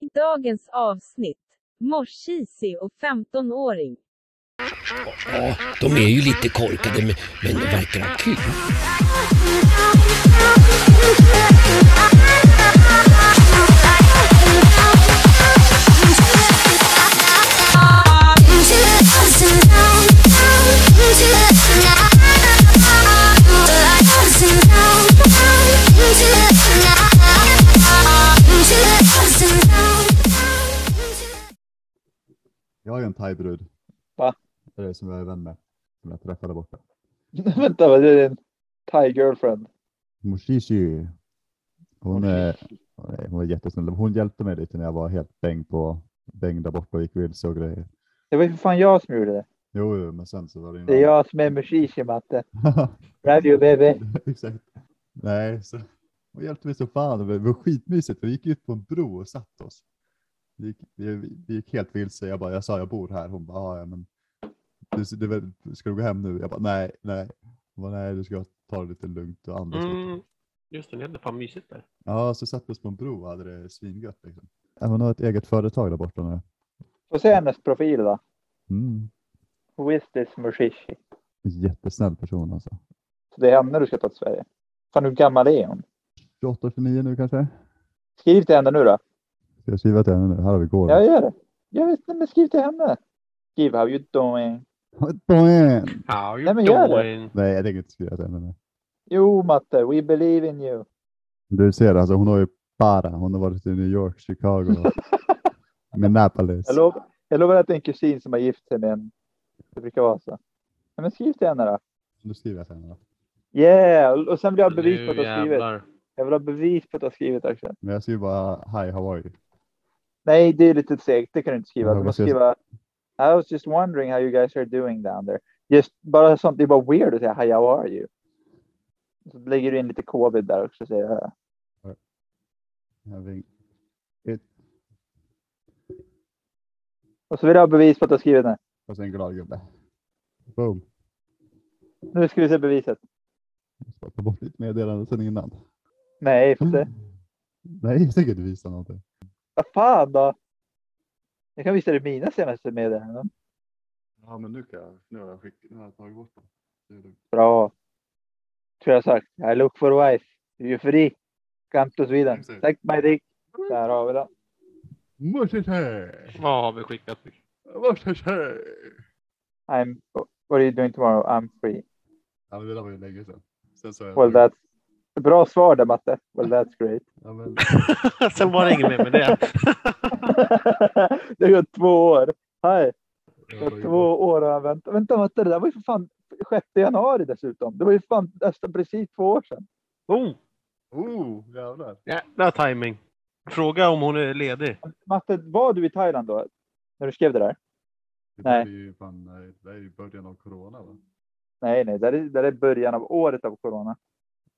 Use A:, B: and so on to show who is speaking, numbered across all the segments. A: I dagens avsnitt, Morsisi och 15-åring.
B: Ja, de är ju lite korkade men, men det verkar vara kul.
C: Jag har ju en thaibrud.
D: Va?
C: Det är det som jag är vän med. Som jag träffade borta.
D: Vänta, vad är det? En Thai girlfriend?
C: Moshishi. Hon, är, nej, hon var jättesnäll. Hon hjälpte mig lite när jag var helt däng på däng där borta och gick vilse och grejer.
D: Det var ju för fan jag som gjorde det.
C: Jo, jo, men sen så var det
D: Det är jag som är mushishi matte.
C: jag.
D: Love you baby.
C: Exakt. Nej, så hon hjälpte mig så fan. Det var skitmysigt. Vi gick ut på en bro och satt oss. Vi gick, vi, vi gick helt vilse. Jag bara, jag sa jag bor här. Hon bara, "Ah, ja men. Du, du, väl- ska du gå hem nu? Jag bara, nej, nej. Hon bara, nej, du ska ta det lite lugnt och andas lite.
E: Mm. Just det, ni hade fan mysigt där.
C: Ja, så satt vi oss på en bro och hade det svingött. Liksom. Ja, Hon har ett eget företag där borta nu.
D: Får se hennes profil då.
C: Mm.
D: Who is this mushishi?
C: Jättesnäll person alltså.
D: Så det är henne du ska ta till Sverige. Fan hur gammal är hon?
C: 28, 29 nu kanske?
D: Skriv till henne nu då.
C: Ska jag skriva till henne nu? Här har vi gården.
D: Jag gör det. Jag vet inte, men skriv till henne. Skriv how you doing.
C: Poäng!
E: How you
D: Nej, men gör det.
E: doing?
C: Nej, jag tänker inte skriva till henne. nu.
D: Jo matte, we believe in you.
C: Du ser alltså, hon har ju para. Hon har varit i New York, Chicago, Minneapolis.
D: Jag, lov, jag lovar att det är en kusin som har gift sig med en. Det brukar vara så. Ja, men skriv till henne då.
C: Nu skriver jag till henne. då.
D: Yeah, och- och sen vill jag ha bevis på att
E: Nu
D: du har skrivit.
E: jävlar.
D: Jag vill ha bevis på att du har skrivit också.
C: Men jag skriver bara Hi, how are you?
D: Nej, det är lite segt. Det kan du inte skriva.
C: Ja,
D: Du
C: vad
D: måste
C: ska
D: skriva. I was just wondering how you guys are doing down there. Just bara sånt. Det är bara weird att säga hi, how are you? Så lägger du in lite covid där också. Säger jag.
C: Having it.
D: Och så vill jag ha bevis på att du har skrivit den.
C: Och sen glad gubbe. Boom.
D: Nu ska vi se beviset.
C: Jag måste bara ta bort ditt meddelande sen innan.
D: Nej,
C: Mm.
D: får se.
C: Nej, jag tänker inte visa någonting.
D: Vad fan då? Jag kan visa dig mina senaste meddelanden.
C: Ja, men nu kan jag. Nu har jag, skick, nu har jag tagit bort dem. Det är lugnt.
D: Bra. Tror jag sagt. I look for wife. You free. Come to Sweden.
C: Exakt.
D: Tack my dick. Där har vi den.
C: Morsese!
E: Vad har vi skickat?
C: Morsese!
D: I'm, what are you doing tomorrow? I'm free.
C: Ja, men det där var ju länge sedan. Sen så har jag
D: Well,
C: tagit-
D: that's... Bra svar där, Matte. Well, that's great.
C: ja, men,
E: Sen var det inget mer med det.
D: det har gått två år.
C: jag
D: Hej. Det
C: har
D: har gått
C: tagit bort-
D: två år och jag väntat. Vänta, Matte, det där var ju för fan 6 januari dessutom. Det var ju fan nästan precis två år sedan.
E: Oh,
C: Oh, jävlar.
E: jävla timing. Fråga om hon är ledig.
D: Matte, var du i Thailand då? När du skrev det där?
C: Det
D: Nej.
C: där är ju fan, eh, det där är ju början av corona va?
D: Nej, nej, där är, där är början av året av corona.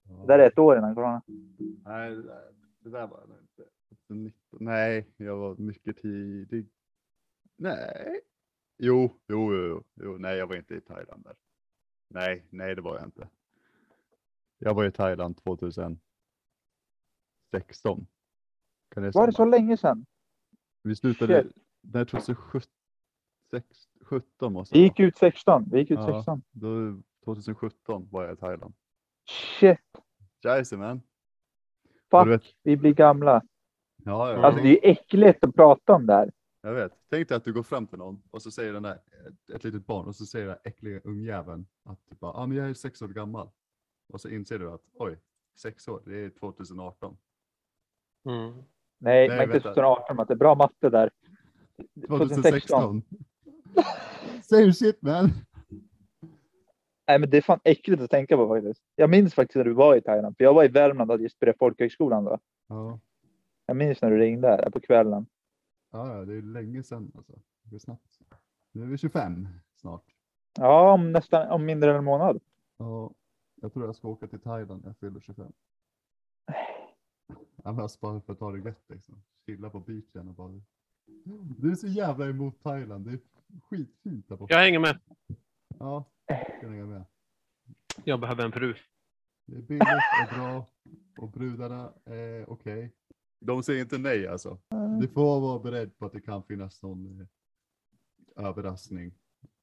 C: Ja.
D: Det där är ett år innan corona.
C: Nej, det där- det där var jag inte. 19 Nej, jag var mycket tidig. Nej. Jo, jo, jo, jo, jo. Nej, jag var inte i Thailand där. Nej, nej, det var jag inte. Jag var i Thailand 2016. Kan det
D: Var
C: stämma?
D: det så länge sedan?
C: Vi slutade, nej 2017 måste
D: Vi
C: det
D: gick
C: vara.
D: ut 16. Vi gick ut
C: Ja.
D: 16.
C: Då, 2017 var jag i Thailand.
D: Shit,
C: Jajamän. Och du
D: fuck,
C: vet,
D: vi blir gamla.
C: ja, ja,
D: Alltså det är ju äckligt att prata om det här.
C: Jag vet. Tänk dig att du går fram till någon och så säger den där, ett, ett litet barn och så säger den där äckliga ungjäveln att typ bara, ah, men jag är sex år gammal. Och så inser du att oj, sex år, det är 2018.
E: Mm.
D: Nej,
C: Nej,
D: men inte
C: vänta.
D: 2018 att det är bra matte där.
C: 2016.
D: 2016.
C: Same shit man.
D: Nej, men det är fan äckligt att tänka på faktiskt. Jag minns faktiskt när du var i Thailand, för jag var i Värmland och hade just börjat folkhögskolan då.
C: Ja,
D: Jag minns när du ringde här på kvällen.
C: ja ja, det är länge sedan alltså. Det går snabbt. Nu är vi 25 snart.
D: Ja, om nästan om mindre än en månad.
C: Ja, jag tror jag ska åka till Thailand när jag fyller 25. Ja, men alltså bara för att ta det gött liksom. Chilla på beachen och bara. Du är så jävla emot Thailand. Det är skitfint där borta.
E: Jag hänger med.
C: Ja, jag kan hänga med.
E: Jag behöver en fru.
C: Det är billigt och bra och brudarna är okej. De säger inte nej alltså.
D: Eh,
C: Du får vara beredd på att det kan finnas någon eh, överraskning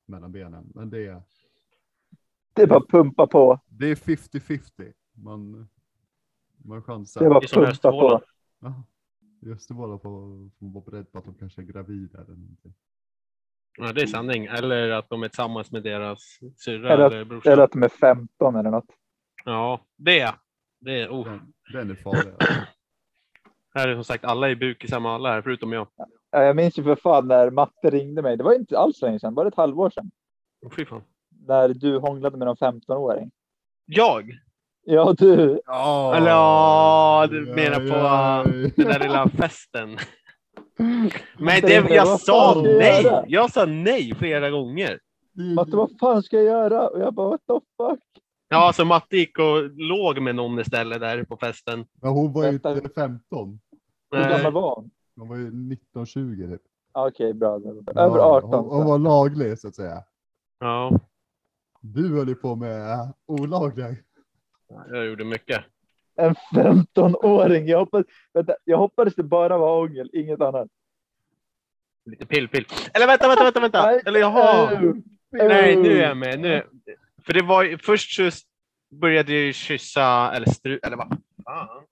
C: mellan benen. Men det är,
D: Det är bara att pumpa på.
C: det är 50-50. Man, man chansar.
D: Det är bara
E: Det är
D: att
E: som
D: pumpa på.
E: höstvålan.
C: Ja, just det bara på, får vara beredd på att de kanske är gravida eller någonting.
E: Ja, det är sanning. Eller att de är tillsammans med deras syrra
D: Eller
E: eller,
D: att-
E: brorsa.
D: Eller att de är 15 eller något.
E: Ja, det. det är,
D: Mm.
E: oh.
C: Den, den är farlig.
E: Här är som sagt alla i buk i samma alla här, förutom jag.
D: Ja, Jag minns ju för fan när Matte ringde mig. Det var inte alls länge sedan. Var det ett halvår sedan?
E: Åh, Fy fan.
D: När du hånglade med någon 15-åring.
E: Jag?
D: Ja, du.
C: Ja,
E: Eller, ja, du menar på, Den där lilla festen. Men det, jag
D: Mm. Vad
E: sa
D: fan ska jag
E: nej.
D: göra?
E: Jag sa nej flera gånger.
D: Matte, vad fan ska jag göra? Och jag bara, what the fuck?
E: Ja, så Matte gick och låg med någon istället där på festen.
C: Men hon var ju inte
D: Vänta.
C: 15.
D: Hur
E: Eh,
D: gammal var hon?
C: Hon var ju 19-20 typ.
D: Ja, Okej, bra. Över
C: Ja,
D: 18.
C: Hon, hon
D: så.
C: var laglig så att säga.
E: Ja,
C: Du höll ju på med äh, olagliga.
E: jag gjorde mycket.
D: En 15-åring. Jag hoppades, vänta, jag hoppades det bara var hångel, inget annat.
E: Lite pillpill. Eller vänta, vänta, vänta, vänta. Eller jaha.
D: Eww.
E: Nej, nu är jag med. Nu. För det var ju, först så började jag ju kyssa, eller stru, eller vad fan.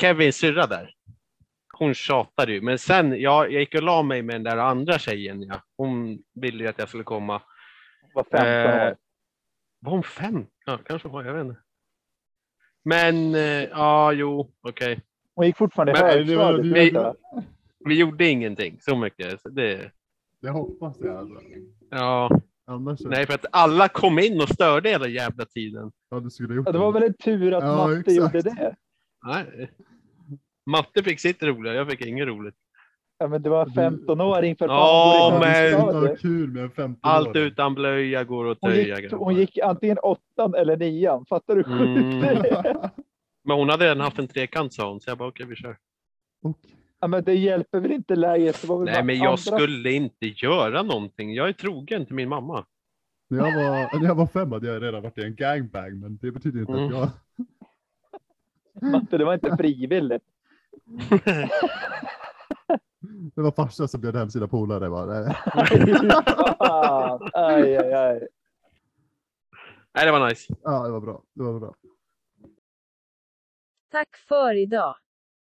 E: Kevins syrra där. Hon tjatade ju, men sen jag, jag gick och la mig med den där andra tjejen. Ja. Hon ville ju att jag skulle komma.
D: Hon var 15
E: Eh,
D: år.
E: var hon fem? Ja, kanske var, jag vet inte. Men eh, ja, jo, okej.
D: Hon gick fortfarande i
E: men-
D: högstadiet.
C: men-
D: vet du va?
E: Vi gjorde ingenting så mycket. Så det,
C: Det hoppas jag alltså.
E: ja,
C: Annars
E: nej, för att alla kom in och störde hela jävla tiden.
C: ja, du skulle gjort
D: Ja, Det var väl en tur att
C: Ja,
D: Matte
C: exakt.
D: gjorde det.
E: Nej. Matte fick sitt roliga, jag fick inget roligt.
D: Ja, men det var en 15-åring för fan.
E: Ja,
D: hon går i
E: men-
C: Du skulle
D: högstadiet.
C: inte ha kul med en 15
E: Allt utan blöja går att
D: Hon
E: töja.
D: gick,
E: grabbar.
D: hon gick antingen åttan eller nian. Fattar du hur sjukt det
E: Mm.
D: är?
E: Men hon hade redan haft en trekant sa hon, så jag bara okej vi kör.
C: Och
D: Ja, men det hjälper väl inte läget? Det var väl bara
E: Nej men
D: andra-
E: jag skulle inte göra någonting. Jag är trogen till min mamma.
C: när jag, var, när jag var fem hade jag redan varit i en gangbang, men det betyder inte
E: Mm.
C: att jag...
D: Matte, det var inte frivilligt.
C: Det var farsan som bjöd hem sina polare. Bara. eh,
D: Fan. Aj, aj, aj.
E: Nej det var nice.
C: Ja, det var bra. Det var bra.
A: Tack för idag.